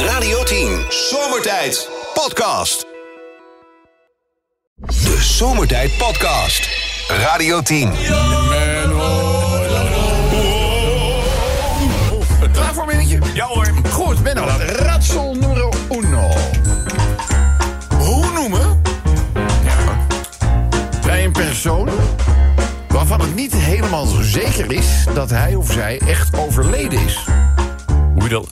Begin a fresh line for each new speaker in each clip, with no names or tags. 10. Zomertijd Podcast. De Zomertijd Podcast. Radio 10.
Klaar voor een minuutje? Ja hoor. Goed, Benno. Ratsel numero uno. Hoe noemen wij een persoon waarvan het niet helemaal zo zeker is dat hij of zij echt overleden is?
Hoe, je dat,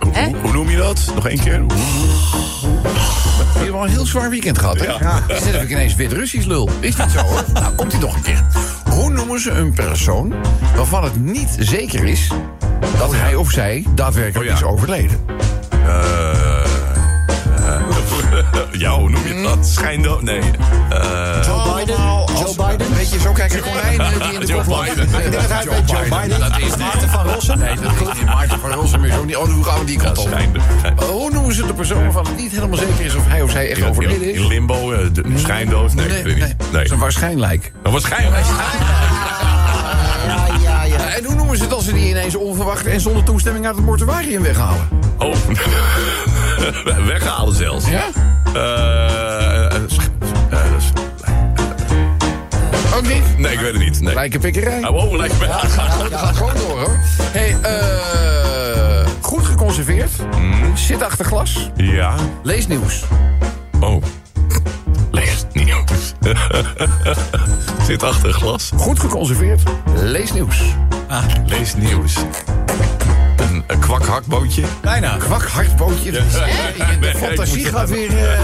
hoe,
Hè?
hoe- hoe noem je dat? Nog één keer? Hoe-
Je hebt wel een heel zwaar weekend gehad, hè? Is net of ik ineens Wit-Russisch lul. Is dat zo, hoor? Nou, komt hij nog een keer. Hoe noemen ze een persoon waarvan het niet zeker is... dat hij of zij daadwerkelijk
Oh ja.
is overleden?
Ja, hoe noem je dat? Schijndel? Nee.
Joe Biden?
Allemaal als-
Joe Biden?
Weet je, zo kijken konijnen eh, die in de
Joe
kop lopen.
Biden.
Ik denk dat hij
Joe Biden.
Dat is Maarten van Rossum. Nee, dat is niet Maarten van Rossum. Is ook niet. Oh, hoe gaan we die kant
Ja,
op?
schijnbaar.
Uh, Hoe noemen ze de persoon waarvan het niet helemaal zeker is... of hij of zij echt
In-
overleden
in, in
is?
limbo, eh, de, schijndood? Nee, ik weet het niet.
Dat
Nee.
is een waarschijnlijk.
Maar waarschijnlijk.
Ja, ja, ja.
Eh, En hoe noemen ze het als ze die ineens onverwacht... en zonder toestemming uit het mortuarium weghalen?
Oh, weghalen zelfs.
Ja?
Eh, eh, sch- eh, s-
Ook niet?
nee, ik weet het niet. Nee.
Lijkenpikkerij.
Oh, wow, lijkt me.
Ja, gaat gewoon door, hoor. Hey, eh, goed geconserveerd.
Mhm.
Zit achter glas.
Ja.
Lees nieuws.
Oh. Lees nieuws. Zit achter glas.
Goed geconserveerd. Lees nieuws.
Lees nieuws. Een, een kwakhakbootje.
Bijna.
Kwak, hartbootje. De
Nee, ik
fantasie
moet- Ah.
gaat weer... eh,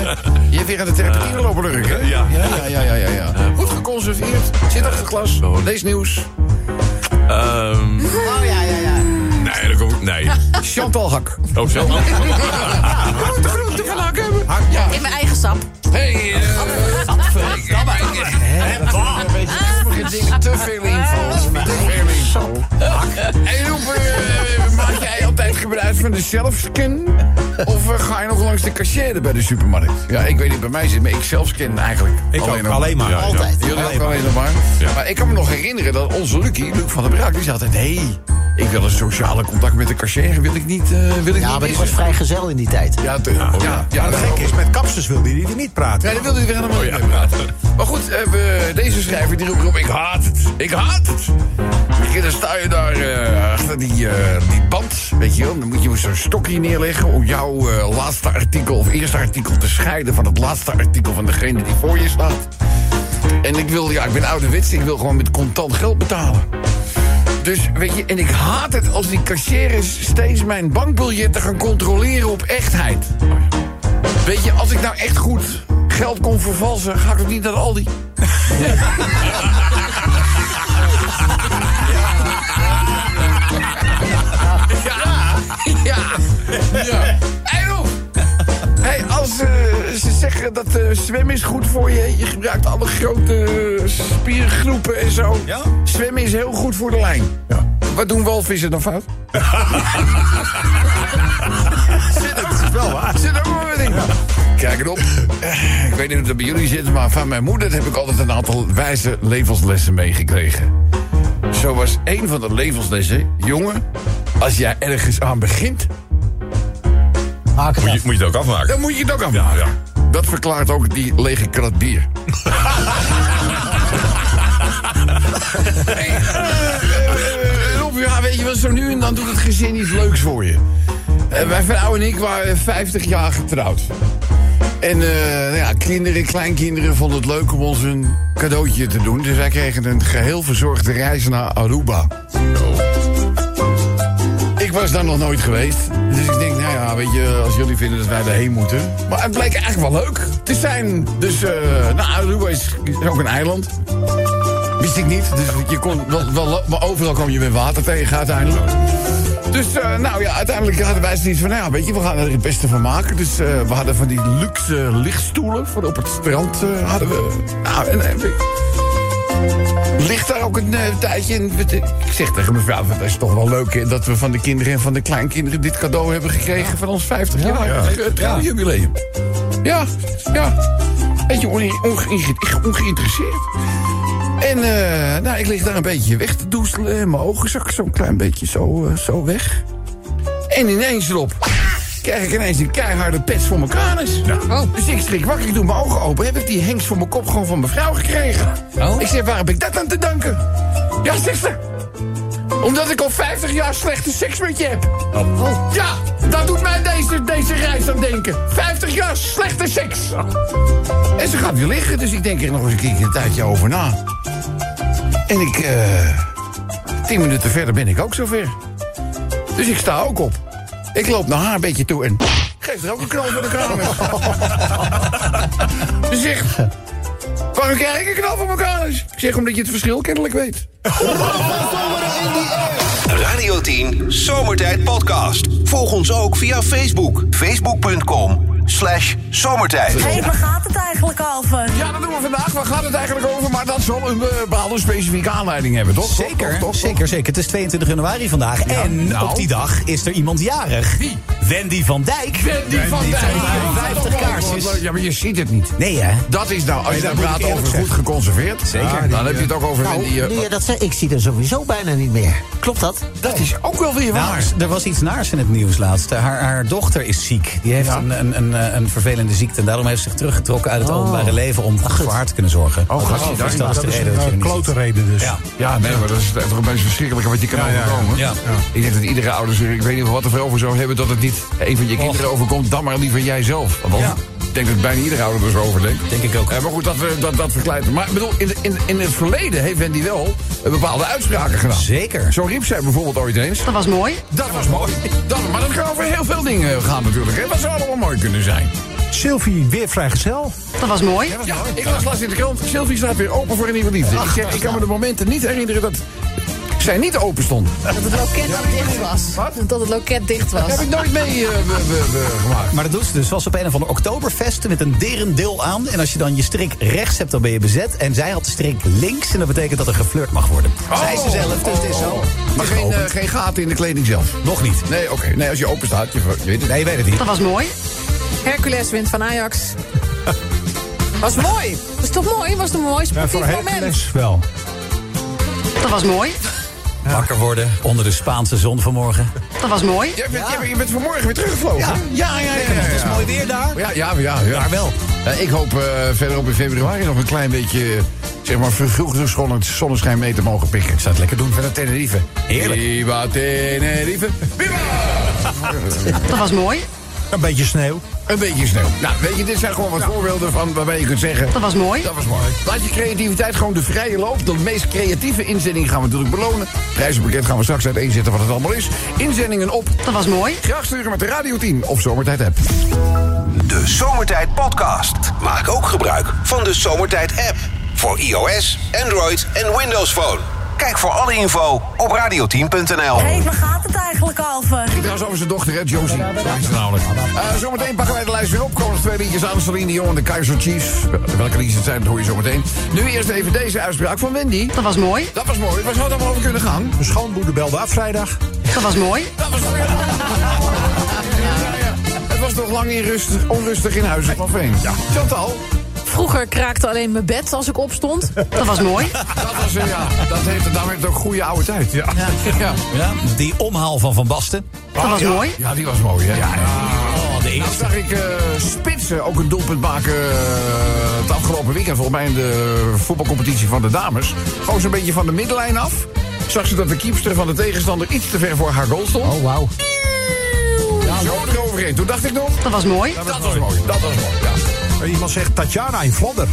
je hebt weer aan de terpentine lopen lurken. hè?
Ja.
Ja, ja, ja, ja, ja. Goed geconserveerd. Zit achter glas. Lees nieuws.
Ehm,
Oh ja, ja, ja.
nee, dat komt. Nee.
Chantal Hak.
Oh, zo.
Grote groente van Hak hebben. Hak, ja.
In mijn eigen sap.
Hey, eh... Sommige dingen te veel info. Te veel info. En hoe eh, maak jij altijd gebruik van de zelfscan? Of eh, ga je nog langs de cashier bij de supermarkt? Ja, ik weet niet bij mij zit, maar ik zelfscan eigenlijk.
Ik alleen,
nog.
alleen maar.
Ja, ja.
Altijd.
Jullie
Alleen
ook alleen nog maar. Maar ik kan me nog herinneren dat onze Lucky, Luc van der Braak, die zei altijd... hé, hey, ik wil een sociale contact met de cashier, wil ik niet, eh, wil ik
Ja,
niet
maar die
missen.
was vrijgezel in die tijd.
Ja, te- Ah,
Oh,
oh ja, ja, Oh
Maar
dat
het gekke is, met kapsters wilde hij er niet praten.
Nee, dat wilde hij weer
Oh,
helemaal niet mee praten. Maar goed, eh, we- deze schrijver die roept op, ik haat het, ik haat het. Weet je, dan sta je daar eh, achter die, eh, die band, weet je wel. Dan moet je zo'n stokje neerleggen om jouw eh, laatste artikel of eerste artikel te scheiden... van het laatste artikel van degene die voor je staat. En ik wil, ja, ik ben ouderwets, ik wil gewoon met contant geld betalen. Dus weet je, en ik haat het als die cashiers steeds mijn bankbiljetten gaan controleren op echtheid. Weet je, als ik nou echt goed geld kon vervalsen, ga ik toch niet naar de Aldi? Ja. Ja. Ja. Hey, Roel. Hey, als eh, ze zeggen dat eh zwemmen is goed voor je, je gebruikt alle grote eh, spiergroepen en zo.
Ja?
Zwemmen is heel goed voor de lijn. Wat doen walvissen dan fout?
Dat is wel waar.
Ah, Zit ook wel weer in. Kijk het op. Eh, Ik weet niet of dat bij jullie zit, maar van mijn moeder heb ik altijd een aantal wijze levenslessen meegekregen. Zo was een van de levenslessen, jongen, als jij ergens aan begint,
Haak het
Moet je,
af.
moet je het ook afmaken?
dan moet je het ook aan.
Ja, ja.
Dat verklaart ook die lege krat bier. hey, eh, eh, Rob, ja, weet je wat, zo nu en dan doet het gezin iets leuks voor je. Eh, mijn vrouw en ik waren 50 jaar getrouwd. En eh, nou ja, kinderen, kleinkinderen vonden het leuk om ons een cadeautje te doen. Dus wij kregen een geheel verzorgde reis naar Aruba.
Oh.
Ik was daar nog nooit geweest. Dus ik denk, nou ja, weet je, als jullie vinden dat wij daarheen moeten. Maar het bleek eigenlijk wel leuk te zijn. Dus, eh nou, Aruba is, is ook een eiland. Wist ik niet. Dus je kon wel, wel, maar overal kwam je met water tegen uiteindelijk. Dus, eh, nou ja, uiteindelijk hadden wij zoiets van, nou ja, weet je, we gaan er het beste van maken. Dus eh, we hadden van die luxe lichtstoelen voor op het strand eh, hadden we. Nou, en, en, Ligt daar ook een eh, tijdje in? Ik zeg tegen mijn vrouw, dat is toch wel leuk hè, dat we van de kinderen en van de kleinkinderen dit cadeau hebben gekregen van ons 50 jaar eh, trouwjubileum. Ja, ja. Beetje onge- onge- echt ongeïnteresseerd. En eh, nou, ik lig daar een beetje weg te doezelen. En mijn ogen zak zo'n klein beetje zo, eh, zo weg. En ineens erop. krijg ik ineens een keiharde pest voor mijn kanus.
Nou.
Dus ik schrik wakker, ik doe mijn ogen open. Heb ik die hengst voor mijn kop gewoon van mijn vrouw gekregen?
Oh.
Ik zeg, waar heb ik dat aan te danken? Ja, zegt ze. Omdat ik al 50 jaar slechte seks met je heb. Oh. Ja, dat doet mij deze, deze reis aan denken. 50 jaar slechte seks. En ze gaat weer liggen, dus ik denk er nog eens een keer een tijdje over na. En ik, eh... Tien minuten verder ben ik ook zover. Dus ik sta ook op. Ik loop naar haar een beetje toe en... Geef er ook een knal voor de kraam. Ze zegt... Waarom krijg ik een knal voor mijn kanus? Ik zeg, omdat je het verschil kennelijk weet.
Radio 10 Zomertijd Podcast. Volg ons ook via Facebook. Facebook.com slash zomertijd.
Hé, waar gaat het eigenlijk over?
Ja, dat doen we vandaag. Waar gaat het eigenlijk over? Maar dat zal een eh, bepaalde specifieke aanleiding hebben, toch? Toch,
Zeker,
toch, toch?
zeker, zeker. Het is 22 januari vandaag. en
nou.
op die dag is er iemand jarig.
Wie?
Wendy van Dijk.
Wendy van Dijk.
Dijk. 50 kaarsjes.
Ja, maar je ziet het niet.
Nee, hè?
Dat is nou, als je
dat
daar
moet
praat
ik eerlijk
over goed
zeggen.
geconserveerd... ah,
Zeker.
dan heb je het ook over
Nou,
Wendy... eh,
nu je dat zei, ik zie er sowieso bijna niet meer. Klopt dat?
Dat is ook wel weer
Nou,
waar.
er was iets naars in het nieuws laatst. Haar, haar dochter is ziek. Die heeft
Ja.
een, een, een, eh, een vervelende ziekte. En daarom heeft ze zich teruggetrokken uit het
Oh.
openbare leven... om voor haar te kunnen zorgen.
Oh, gast,
Dus
dat is-
dat is de reden dat je
Een
er niet
klote reden dus.
Ja.
Ja, nee, maar dat is toch een beetje verschrikkelijk wat je kan
ja, ja.
overkomen.
Ja.
Ik denk dat iedere ouder zich, ik weet niet wat er veel over zou hebben... dat het niet een van je kinderen overkomt, dan maar die van jijzelf. Want
Ja.
ik denk dat bijna iedere ouder er zo over denkt.
Denk ik ook.
Eh, maar goed, dat, we- dat, dat verkleidt. Maar ik bedoel, in, de- in, in het verleden heeft Wendy wel eh, bepaalde uitspraken gedaan.
Zeker.
Zo riep zij bijvoorbeeld ooit eens.
Dat was mooi.
Dat was mooi. Dat, maar dat kan over heel veel dingen gaan natuurlijk. Hè. Dat zou allemaal mooi kunnen zijn.
Sylvie, weer vrijgezel.
Dat was mooi.
Ja, ik las laatst in de krant. Sylvie staat weer open voor een nieuwe liefde. Ik, zeg, ik kan me de momenten niet herinneren dat zij niet open stond.
Dat het loket dicht was. Dat het loket dicht was.
Heb ik nooit mee eh, be- be- be- gemaakt.
Maar dat doet ze dus. Ze was op een of andere oktoberfest met een derendeel aan. En als je dan je strik rechts hebt, dan ben je bezet. En zij had de strik links. En dat betekent dat er geflirt mag worden.
Oh.
Zij is ze zelf, dus het is zo. Het
Maar
is
geen, eh,
geopend.
geen gaten in de kleding zelf.
Nog niet.
Nee, oké. Nee, als je open staat, je, je weet het.
Nee, je weet het niet.
Dat was mooi.
Hercules wint van Ajax. Was mooi. Was toch mooi? Was een mooi
Ja,
sportief
voor
moment.
Hercules wel.
Dat was mooi.
Wakker worden onder de Spaanse zon vanmorgen.
Dat was mooi.
Jij bent, jij bent- je bent vanmorgen weer teruggevlogen.
Ja.
hè? ja, ja. ja, ja,
Het is
ja.
mooi weer daar.
Ja, ja, ja. ja.
Daar wel.
Eh, ik hoop eh, verderop in februari nog een klein beetje, eh, zeg maar, vervroegd schoon zonneschijn mee te mogen pikken. Ik zou het lekker doen. Verder Tenerife.
Heerlijk.
Viva Tenerife. Viva!
Dat was mooi.
Een beetje sneeuw.
Een beetje sneeuw. Nou, weet je, dit zijn gewoon wat voorbeelden van waarbij je kunt zeggen...
Dat was mooi.
Dat was mooi. Laat je creativiteit gewoon de vrije loop. De meest creatieve inzending gaan we natuurlijk belonen. Prijzenpakket gaan we straks uiteenzetten wat het allemaal is. Inzendingen op.
Dat was mooi.
Graag sturen met de Radio 10 of Zomertijd app.
De Zomertijd Podcast. Maak ook gebruik van de Zomertijd app. Voor iOS, Android en Windows Phone. Kijk voor alle info op radio10.nl.
Hé, waar gaat het eigenlijk over?
Ging trouwens over zijn dochter, hè, Josie. Zo heet ze namelijk. Eh, zometeen pakken wij de lijst weer op. Komen nog twee liedjes aan. Celine Dion en de Kaiser Chiefs. Wel- Welke liedjes het zijn, dat hoor je zometeen. Nu eerst even deze uitspraak van Wendy.
Dat was mooi.
Dat was mooi. Waar zou het allemaal over kunnen gaan?
Mijn schoonmoeder belde af vrijdag.
Dat was mooi.
Dat was mooi. Ja, ja. Het was nog lang in rust- onrustig in huizen van Veen. Ja. Chantal,
Vroeger kraakte alleen mijn bed als ik opstond.
Dat was mooi.
dat was, eh, ja, dat heeft, daarom heeft het ook goede oude tijd. Ja. Ja.
Ja, die omhaal van Van Basten.
Dat was mooi.
Ja, die was mooi, hè? Ja,
Oh, de
Nou
eerste.
zag ik eh, Spitsen ook een doelpunt maken eh, het afgelopen weekend. Volgens mij in de voetbalcompetitie van de dames. Gewoon zo'n beetje van de middenlijn af. Zag ze dat de kiepster van de tegenstander iets te ver voor haar goal stond.
Oh, wauw.
Zo eroverheen. Toen dacht ik nog,
Dat was mooi.
dat was mooi. Dat was mooi, ja.
En Iemand zegt Tatjana in Vlodder.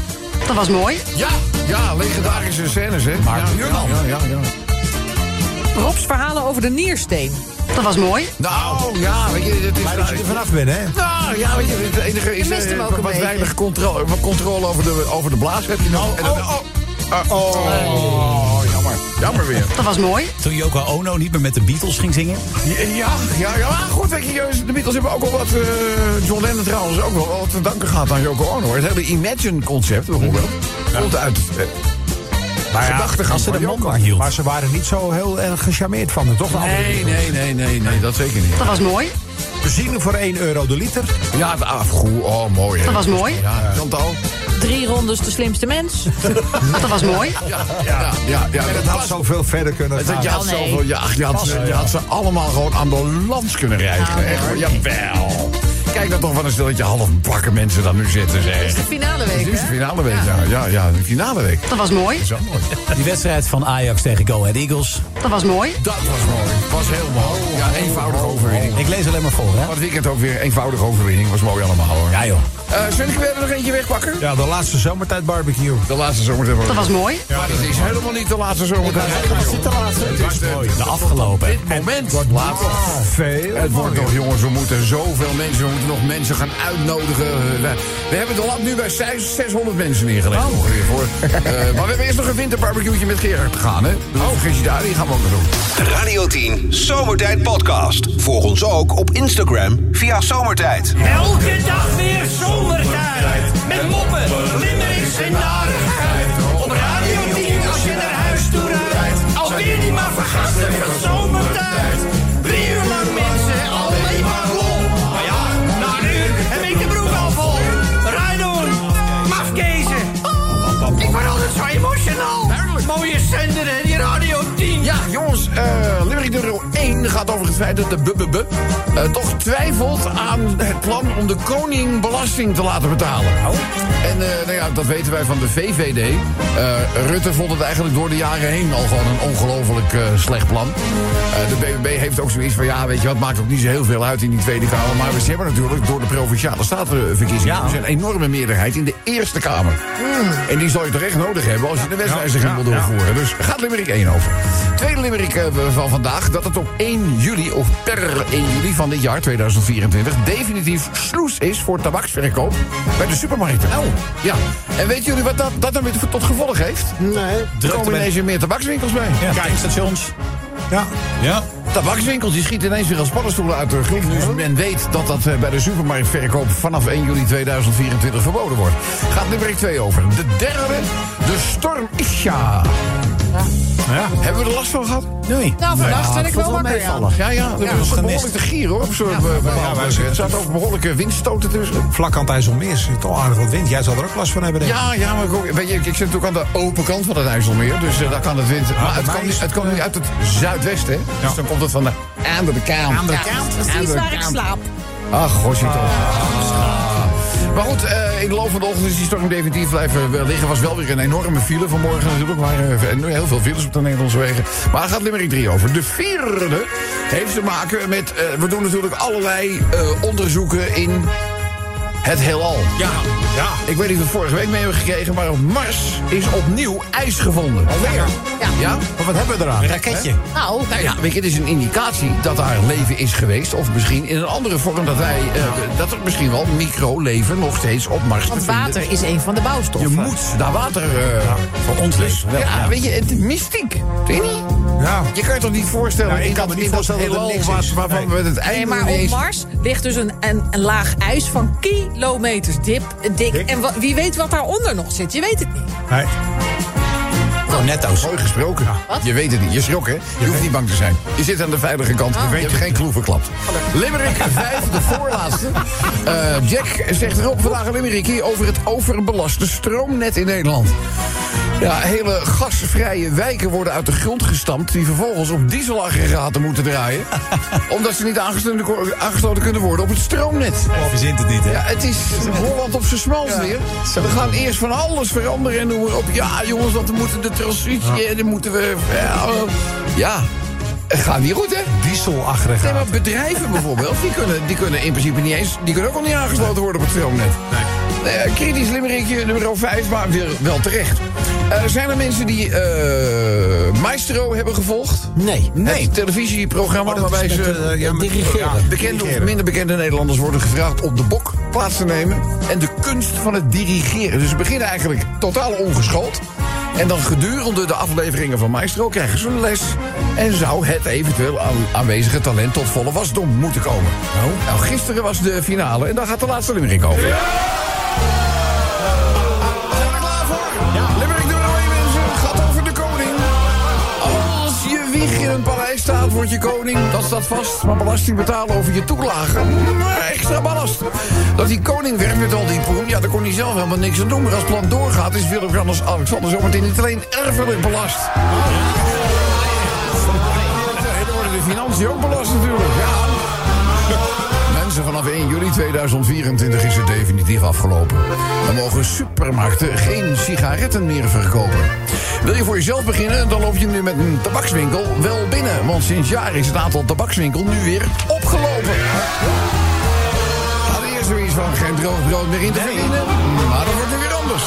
Dat was mooi.
Ja, ja, legendarische scènes, hè? Maar ja,
Buurman.
Ja, ja, ja.
Rob's verhalen over de niersteen.
Dat was mooi.
Nou, ja, weet je, het is...
Blij dat je er vanaf bent, hè?
Nou, ja, weet je, het enige is...
Je mist hem
eh,
ook een
wat
beetje.
weinig controle, wat controle over de, over de blaas heb je nog. En dan-
oh,
Eh, oh, jammer. Jammer weer.
Dat was mooi.
Toen Yoko Ono niet meer met de Beatles ging zingen.
Ja, ja, ja. Maar goed, weet je, de Beatles hebben ook wel wat... eh, John Lennon trouwens ook wel wat te danken gehad aan Yoko Ono. hoor. Het hele Imagine-concept bijvoorbeeld komt uit... eh,
Maar ja,
gedachtegang
Als ze de
van
mond
Yoko.
maar hield.
Maar ze waren niet zo heel erg gecharmeerd van het, toch? De andere
Nee, nee, nee, nee, nee, dat zeker niet.
Dat was mooi.
Benzine voor 1 euro de liter.
Ja, het afgoed. Oh, mooi. Hè?
Dat was mooi.
Ja, Chantal.
Drie rondes de slimste mens.
Dat was mooi.
Ja, ja, ja.
En het had zoveel verder kunnen
Dat
gaan.
je, had
Wel, nee.
zoveel, ja, ach, je, had ze, je had ze allemaal gewoon ambulance kunnen rijden.
Nou,
echt,
hoor.
hoor. jawel. Kijk dan toch van een stelletje halfbakken mensen daar nu zitten. Zeg.
De finale week,
Dit is de
hè?
finale week, ja. Ja, ja, de finale week.
Dat was mooi.
Zo mooi.
Die wedstrijd van Ajax tegen Go Ahead Eagles.
Dat was mooi.
Dat was mooi. Was heel mooi. Ja,
Oh,
eenvoudige overwinning.
Ik lees alleen maar voor, hè?
Wat weekend ook weer eenvoudige overwinning. Was mooi allemaal, hoor.
Ja, joh.
Eh, zullen we er nog eentje wegpakken?
Ja, de laatste zomertijd barbecue.
De laatste zomertijd.
Dat was mooi.
Maar dit is helemaal niet de laatste zomertijd.
de laatste? Het is mooi. De afgelopen.
Dit moment. Laat toch.
Veel.
Het wordt toch, jongens, we moeten zoveel mensen, we moeten nog mensen gaan uitnodigen. Eh, We, we hebben de lamp nu bij zes- 600 mensen neergelegd. ongeveer, voor. Eh, maar we hebben eerst nog een winterbarbecueetje met Gerard gegaan, hè? Dus oh, je daar, die gaan we ook nog doen.
Radio 10 Zomertijd Podcast. Volg ons ook op Instagram via Zomertijd.
Elke dag weer zomertijd. Met moppen, limmerings en narigheid. Op Radio 10 als je naar huis toe rijdt. Alweer die maar vergasten van zomertijd. Drie uur lang mensen, alleen maar lol. Maar ja, na een uur heb ik de broek al vol. Rijdoen, mafkezen. Ik word altijd zo emotional. Mooie zender hè, die Radio 10.
Ja, jongens, eh Limerick nummer 1 gaat over het feit dat de BBB eh, toch twijfelt aan het plan om de koning belasting te laten betalen. En eh, nou ja, dat weten wij van de VVD. Eh, Rutte vond het eigenlijk door de jaren heen al gewoon een ongelooflijk eh, slecht plan. Eh, de BBB heeft ook zoiets van, ja, weet je wat, maakt ook niet zo heel veel uit in die Tweede Kamer. Maar we hebben natuurlijk door de Provinciale Statenverkiezingen
Ja.
dus een enorme meerderheid in de Eerste Kamer. En die zou je toch echt nodig hebben als je de wedstrijd
Ja,
wil
ja, ja.
doorvoeren horen. Dus gaat Limerick 1 over. Tweede Limerick eh, van vandaag. Dat het op 1 juli of per 1 juli van dit jaar 2024 definitief sloes is voor tabaksverkoop bij de supermarkten. Oh. Ja. En weten jullie wat dat, dat dan weer tot gevolg heeft?
Nee.
Er
Drukte
komen
bij-
ineens weer meer tabakswinkels bij.
Kijkstations.
Ja.
Ja.
Tabakswinkels die schieten ineens weer als paddenstoelen uit de grond. Nu men weet dat dat eh, bij de supermarktverkoop vanaf 1 juli 2024 verboden wordt. Gaat Limerick 2 over. De derde, de storm Isha.
Ja.
Hebben we er last van gehad?
Nee.
Nou, vandaag ben ik wel wakker, ja.
meevallen.
Ja, ja, dat
Ja,
was
gemist.
behoorlijk te gieren hoor. Op zo'n eh, bepaalde
wij
plek.
zitten-
Er zaten ook behoorlijke windstoten tussen.
Vlak aan het IJsselmeer zit al aardig wat wind. Jij zou er ook last van hebben, denk ik.
Ja, ja, maar ik, ook- weet je, ik zit natuurlijk aan de open kant van het IJsselmeer. Dus eh, daar kan het wind. Maar het
mij
komt
is
niet- het
het, eh,
komt niet uit het zuidwesten. hè. Dus dan komt het van de andere kant. Aan de kant,
Precies waar ik slaap.
Ach, gosje toch. Maar goed, eh, in de loop van de ochtend is die storm definitief blijven eh, liggen. Was wel weer een enorme file vanmorgen natuurlijk. Maar nu heel veel files op de Nederlandse wegen. Maar daar gaat Limerick 3 over. De vierde heeft te maken met... eh, we doen natuurlijk allerlei eh, onderzoeken in het heelal.
Ja. Ja.
Ik weet niet of we het vorige week mee hebben gekregen... maar op Mars is opnieuw ijs gevonden.
Alweer.
Ja?
Maar wat hebben we eraan?
Raketje.
Nou,
Nou ja, weet je, het is een indicatie dat daar leven is geweest. Of misschien in een andere vorm dat wij. eh, dat er misschien wel microleven nog steeds op Mars te
Want
vinden.
water is een van de
Je
bouwstoffen.
moet daar water. eh,
Voor ons dus.
ja,
Wel, ja.
weet je, het is mystiek. Weet je niet?
Ja.
Je kan je toch niet voorstellen.
Ja, ik
in
kan me
dat-
niet
in dat
voorstellen dat er
heelal
niks
waar-
is.
Waarvan
Nee.
we het einde
Nee, maar
niet
op
eens-
Mars ligt dus een, een, een laag ijs van kilometers dip, dik. En wa- wie weet wat daaronder nog zit, je weet het niet.
Nee.
Oh, netto's.
Mooi gesproken. Je weet het niet. Je schrok, hè? Je, hoeft niet bang te zijn. Je zit aan de veilige kant. Je, hebt geen kloe verklapt. Limerick 5, de voorlaatste. Eh, Jack zegt erop vandaag een Limerick over het overbelaste stroomnet in Nederland. Ja, hele gasvrije wijken worden uit de grond gestampt... die vervolgens op dieselaggregaten moeten draaien... omdat ze niet aangesloten, aangesloten kunnen worden op het stroomnet.
Hij verzint het niet, hè?
Ja, het is Holland op zijn smalst weer. We gaan eerst van alles veranderen en noemen op. Ja, jongens, want we moeten de transitie en dan moeten we... Ja, eh, Ja, het gaat niet goed, hè? Nee,
Dieselaggregaat.
maar bedrijven bijvoorbeeld, die kunnen, die kunnen in principe niet eens... die kunnen ook al niet aangesloten worden op het stroomnet. Eh, kritisch limmerikje nummer 5, maar weer wel terecht. Eh, zijn er mensen die eh, Maestro hebben gevolgd?
Nee.
Het televisieprogramma
Oh, dat
waarbij
is
ze...
met, eh, ja, met-
Ja,
ja,
bekende of
dirigeren.
minder bekende Nederlanders worden gevraagd op de bok plaats te nemen. En de kunst van het dirigeren. Dus ze beginnen eigenlijk totaal ongeschoold. En dan gedurende de afleveringen van Maestro krijgen ze een les. En zou het eventueel aan- aanwezige talent tot volle wasdom moeten komen. Nou, gisteren was de finale en daar gaat de laatste Limerick over. Zijn we klaar voor? Limerick nummer 1 mensen gaat over de koning. Als je weer vlieg in een paleis staat, word je koning. Dat staat vast. Maar belasting betalen over je toelagen. mm, Extra ballast. Dat die koning werd met al die poen, ja, daar kon hij zelf helemaal niks aan doen. Maar als het plan doorgaat, is Willem Jannes Alexander zometeen niet alleen erfelijk belast. En dan worden de financiën ook belast natuurlijk. Ja. Mensen, vanaf 1 juli 2024 is het definitief afgelopen. Dan mogen supermarkten geen sigaretten meer verkopen. Wil je voor jezelf beginnen, dan loop je nu met een tabakswinkel wel binnen. Want sinds jaar is het aantal tabakswinkels nu weer opgelopen. Hadden eerst zoiets van geen droog brood meer in te verdienen, maar dat wordt nu weer anders.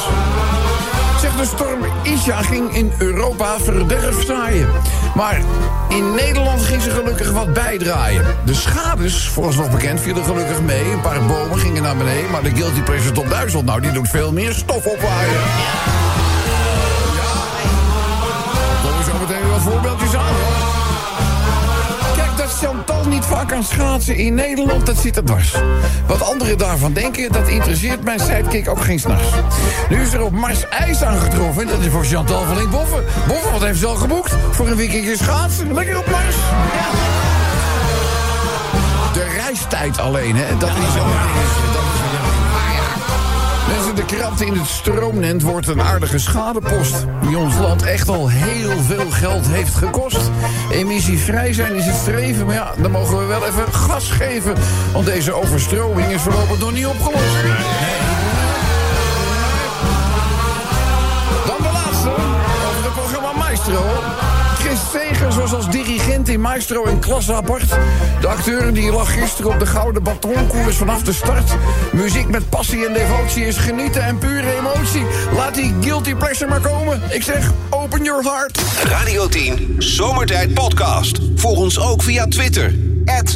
Zegt de storm Isha ging in Europa verderf zaaien. Maar in Nederland ging ze gelukkig wat bijdraaien. De schades, vooralsnog bekend, vielen gelukkig mee. Een paar bomen gingen naar beneden. Maar de guilty pleasure top Duitsland, nou, die doet veel meer stof opwaaien. Ja. Komen zo meteen weer wat voorbeeldjes aan. hoor. Kijk, dat Chantal niet vaak aan schaatsen in Nederland, dat zit er dwars. Wat anderen daarvan denken, dat interesseert mijn sidekick ook geen s'nachts. Nu is er op Mars ijs aangetroffen en dat is voor Chantal van Link Boffen. Boffen, wat heeft ze al geboekt? Voor een weekendje schaatsen, lekker op Mars. De reistijd alleen, hè, dat is al... Dat is wel jammer. Mensen, de krapte in het stroomnet wordt een aardige schadepost. Die ons land echt al heel veel geld heeft gekost. Emissievrij zijn is het streven, maar ja, dan mogen we wel even gas geven. Want deze overstroming is voorlopig nog niet opgelost. Dan de laatste over het programma Maestro. Chris Segers was als dirigent in Maestro in klasse apart. De acteur die lag gisteren op de gouden batonkoers vanaf de start. Muziek met passie en devotie is genieten en pure emotie. Laat die guilty pleasure maar komen. Ik zeg, open your heart.
Radio 10, Zomertijd Podcast. Volg ons ook via Twitter.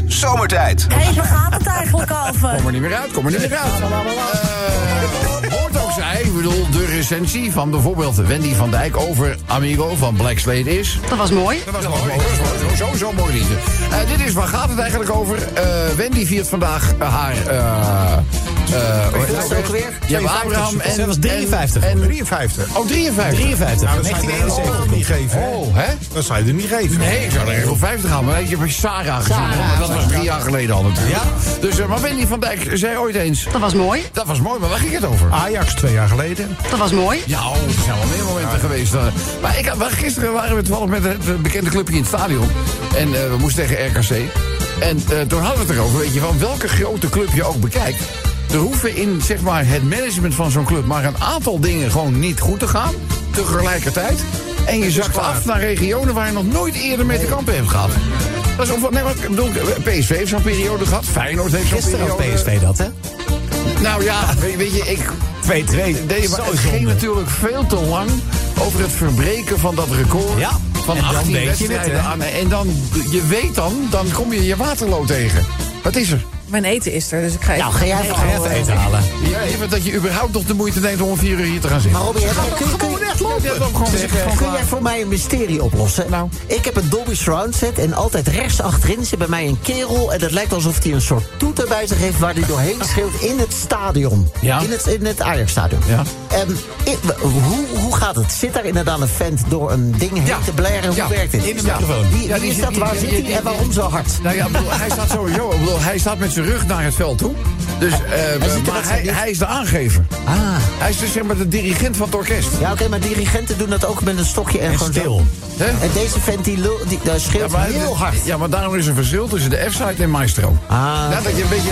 Zomertijd.
Hé, hey, waar gaat het eigenlijk over?
Kom er niet meer uit, kom er niet meer uit. Eh, Hoort ook zij, ik bedoel, de recensie van bijvoorbeeld Wendy van Dijk over Amigo van Black Slade is...
Dat was mooi.
Dat was mooi. Sowieso mooi liedje. Eh, dit is, waar gaat het eigenlijk over? Eh, Wendy viert vandaag eh, haar... eh eh, hoe heet dat ook weer? Ja, maar Abraham en...
Zij was 53.
En, en,
53.
oh, 53.
53.
Nou, dat zou je er
1971.
niet geven. hè?
Oh, hè?
Dat zou je er niet geven.
Nee, ik zou er echt op 50 gaan. Maar ik heb Sarah gezien. want dat was drie jaar geleden al natuurlijk. Ja? Dus, eh, maar Wendy van Dijk zei ooit eens...
Dat was mooi.
Dat was mooi, maar waar ging het over?
Ajax twee jaar geleden.
Dat was mooi.
Ja, oh, er zijn wel meer momenten geweest. eh. Maar ik, had- maar gisteren waren we toevallig met het eh, bekende clubje in het stadion. En eh, we moesten tegen RKC. En eh, toen hadden we het erover, weet je, van welke grote club je ook bekijkt. Er hoeven in zeg maar, het management van zo'n club maar een aantal dingen gewoon niet goed te gaan. Tegelijkertijd. En je zakt af naar regionen waar je nog nooit eerder mee te kampen hebt gehad. Dat is ongeveer, nee, maar ik bedoel, eh, PSV heeft zo'n periode gehad. Feyenoord heeft zo'n
Gisteren
periode.
had PSV dat, hè?
Nou ja, weet- weet je, ik,
2-2.
Nee, maar het ging natuurlijk veel te lang over het verbreken van dat record.
Ja,
Van
en dan
18
weet je
wedstrijden
het, hè?
aan. En dan, je weet dan, dan kom je je waterloo tegen. Wat is er?
Mijn eten is er, dus ik ga even...
Nou, ga jij
Ga even eten halen.
Ja, even dat je überhaupt nog de moeite neemt om om vier uur hier te gaan zitten.
Robin, heb- kun, kun, kun, kun, kun jij voor mij een mysterie oplossen?
Nou.
Ik heb een Dolby Surround set en altijd rechts achterin zit bij mij een kerel... en het lijkt alsof hij een soort toeter bij zich heeft... waar hij doorheen schreeuwt in het stadion.
Ja.
In het, in het Ajax-stadion.
Ja.
Ehm, ik- hoe, hoe gaat het? Zit daar inderdaad een vent door een ding heen
Ja.
te blaren? Hoe
Ja.
werkt dit?
In de microfoon.
Wie,
Ja,
wie
die
is
zit-
dat? Waar
die-
zit
die-
hij en waarom zo hard?
Nou ja, ik bedoel, hij staat sowieso. ik bedoel, hij staat met zijn rug naar het veld toe. Dus, eh,
ziet de
maar hij,
wedstrijd niet.
hij is de aangever.
Ah.
Hij is dus zeg maar de dirigent van het orkest.
Ja, oké, maar dirigenten doen dat ook met een stokje en, gewoon zo.
stil.
Hè?
En deze vent die, lul- die daar
Ja,
schreeuwt
maar,
heel hard.
Ja, maar daarom is er verschil tussen de F-site en Maestro.
Ah.
Ja, dat je een beetje...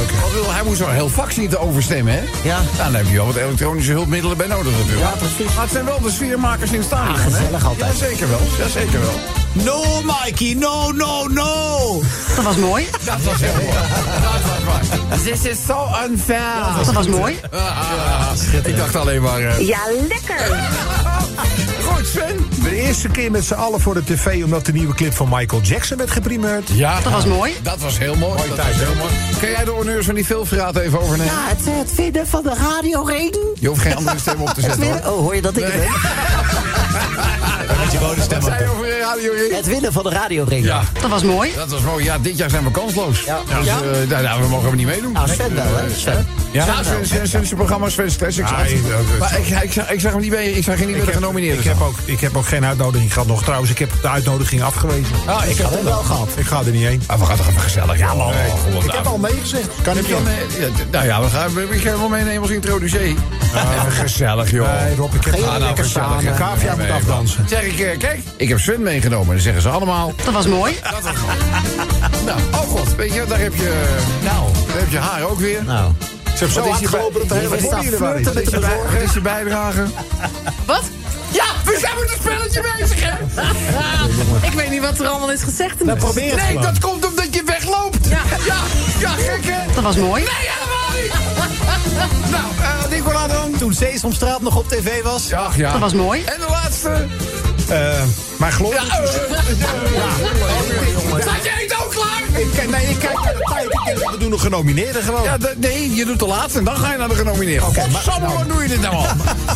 Ik bedoel, Hij moest zo'n heel fax niet overstemmen, hè?
Ja.
Nou, dan heb je wel wat elektronische hulpmiddelen bij nodig natuurlijk.
Ja, precies.
Maar het zijn wel de sfeermakers in het stadion,
Ah, gezellig
hè?
altijd.
Ja, zeker wel. Ja, zeker wel.
No, Mikey, no, no, no.
Dat was mooi.
Dat was heel mooi. Dat was waar. This is so unfair.
Dat was mooi.
Ah, ah, ah. Ik dacht alleen maar... eh,
Ja, lekker.
Goed, Sven.
De eerste keer met z'n allen voor de tv... omdat de nieuwe clip van Michael Jackson werd geprimeerd.
Ja.
Dat was mooi.
Dat was heel mooi. dat
tijd,
was
hè?
heel mooi. Kan jij de honneurs van die filmverraad even overnemen?
Ja, het, het vinden van de radioreden.
Je hoeft geen andere stem op te
Het
zetten, hoor.
winnen- Oh, hoor je dat ik het ben?
Met je bonenstem
Wat zei je
ook.
over Radio Ring?
Het winnen van de radioring.
Ja,
Dat was mooi.
dat was mooi. Ja, dit jaar zijn we kansloos. Ja. Dus, eh, nou, nou, we mogen hem niet meedoen.
Nou, Sven wel, hè? Sven.
Ja, Ah, ja Sven, Sven, Sven, zijn programma Sven's Classics. maar ik, ik, zag, ik zag hem niet bij, ik zag hem niet bij de genomineerden.
Ik
dus
heb, ook, ik heb ook geen uitnodiging gehad nog. Trouwens, ik heb de uitnodiging afgewezen.
Oh,
Ah, ik
Ik had hem wel gehad.
Ik ga er niet heen.
Ah, we gaan toch even gezellig. Ja, man.
Oh,
Ik heb
nou?
al nee gezegd. Kan
Kan ik
ik
dan...
niet.
eh, ja, d- nou ja, we gaan, we- ik ga hem wel meenemen als introducee. Ah, Even gezellig, joh. nou,
Nee, Rob, ik heb
Ga je
Ah,
lekker samen?
gezellig. Kavia moet afdansen.
Zeg ik, eh, kijk, ik heb Sven meegenomen. Dan zeggen ze allemaal.
Dat was mooi.
Nou, oh god, weet je, daar heb je,
Nou,
daar heb je haar ook weer.
Nou,
Ze heeft
Zo
wat is je bij-
hardgelopen dat de hele
Hier staat
body er maar
flirten
is.
wat is je bij- wat is je bijdrage?
Wat?
Ja, we zijn met een spelletje bezig, hè?
Ik weet niet wat er allemaal is gezegd. in de-
probeer het
Nee,
Oh.
gewoon.
dat komt omdat je wegloopt. Ja, ja, gek, hè?
Dat was mooi.
Nee, helemaal niet. Nou, eh Nicola dan.
Toen Sesamstraat nog op tv was.
Ja, ja.
Dat was mooi.
En de laatste.
Maar glorie.
Ja, eh, Staat je eten ook klaar?
Ik kijk- Nee, ik kijk naar de tijd. Ik denk, we doen nog genomineerden gewoon.
Ja, dat- nee, je doet de laatste en dan ga je naar de genomineerden. Oké, maar wat doe je dit nou al?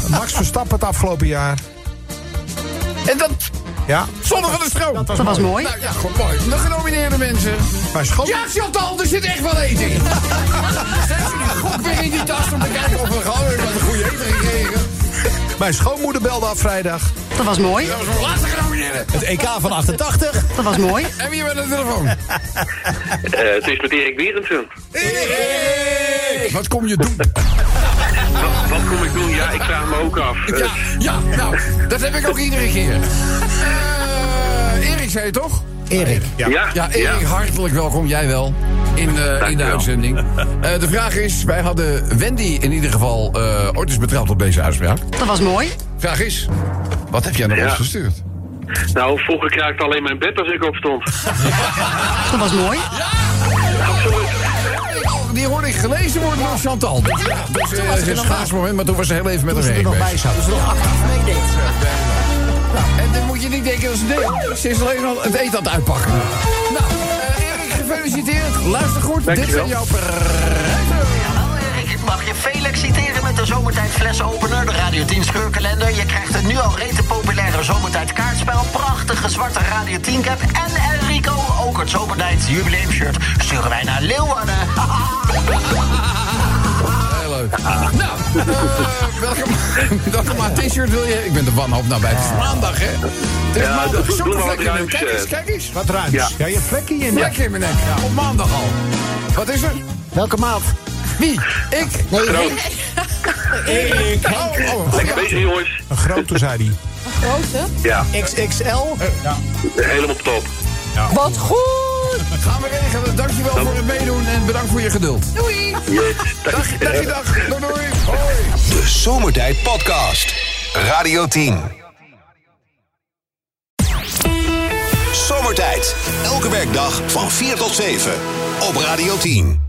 Max Verstappen het afgelopen jaar.
En dat
Ja.
zonder van de stroom.
Dat was mooi.
Nou ja, goed, mooi. De genomineerde mensen.
Mijn schoon.
Ja, Chantal, er zit echt wel eten in. Zet ze die gok weer in die tas om te kijken of we gewoon weer wat een goede eten gekregen.
Mijn schoonmoeder belde af vrijdag.
Dat was mooi.
Dat was mijn laatste genomineerde.
Het EK van 88.
Dat was mooi.
En wie hebben we aan de telefoon?
Eh, het is met Erik Berendsen.
Wat kom je doen?
Wat, wat kom ik doen? Ja, ik vraag me ook af. Eh,
Ja, ja, nou, dat heb ik ook iedere keer. Eh, Erik zei het toch?
Erik.
ja,
Ja, Erik, hartelijk welkom. Jij wel. In de, in de
Dankjewel.
uitzending. Eh, de vraag is, wij hadden Wendy in ieder geval eh, ooit eens betrapt op deze uitspraak.
Dat was mooi.
Vraag is, wat heb jij naar
Ja.
ons gestuurd?
Nou, vroeger kraakte alleen mijn bed als ik opstond.
Dat was mooi.
Die hoorde ik gelezen worden door Chantal. Ja, dus, eh, het is een schaars moment, maar toen was ze heel even met een
er
heen
nog bij
bezig.
zat. Dus nog actief meedeed.
En dan moet je niet denken dat ze deed. Ze is alleen al het eten aan het uitpakken. Nou, eh, Erik, gefeliciteerd. Luister goed, dit
Dankjewel.
zijn jouw prijzen.
Hallo Oh, Erik, mag je Felix citeren met de Zomertijd flesopener, de Radio 10 scheurkalender. Je krijgt het nu al rete populaire Zomertijd kaartspel, prachtige zwarte Radio 10 cap en Enrico, ook het Zomertijd jubileumshirt. Sturen wij naar Leeuwarden.
Heel leuk. Nou, eh, welke, ma- welke maat t-shirt wil je? Ik ben de wanhoop nou bij. Het is maandag, hè? Het is
Ja,
maandag.
doe-
Zoek
doe maar
een
wat
vlek in mijn
ruims,
nek. Kijk eens,
eh.
kijk eens.
Wat ruimt. Ja.
Ja.
je hebt vlekje in je nek.
Vlek in mijn nek. Op maandag al. Wat is er?
Welke maat?
Wie? Ik?
Nee,
Kroon.
Ik. Oh, oh, oh,
Lekker bezig, jongens.
Een grote, zei hij.
Ja,
XXL.
helemaal top.
Wat goed!
Gaan we regelen. Dankjewel voor het meedoen en bedankt voor je geduld.
Doei!
Yes.
Dag, dag, dag. Doei, doei. Hoi.
De Zomertijd Podcast. Radio 10. Zomertijd. Elke werkdag van 4 tot 7. Op Radio 10.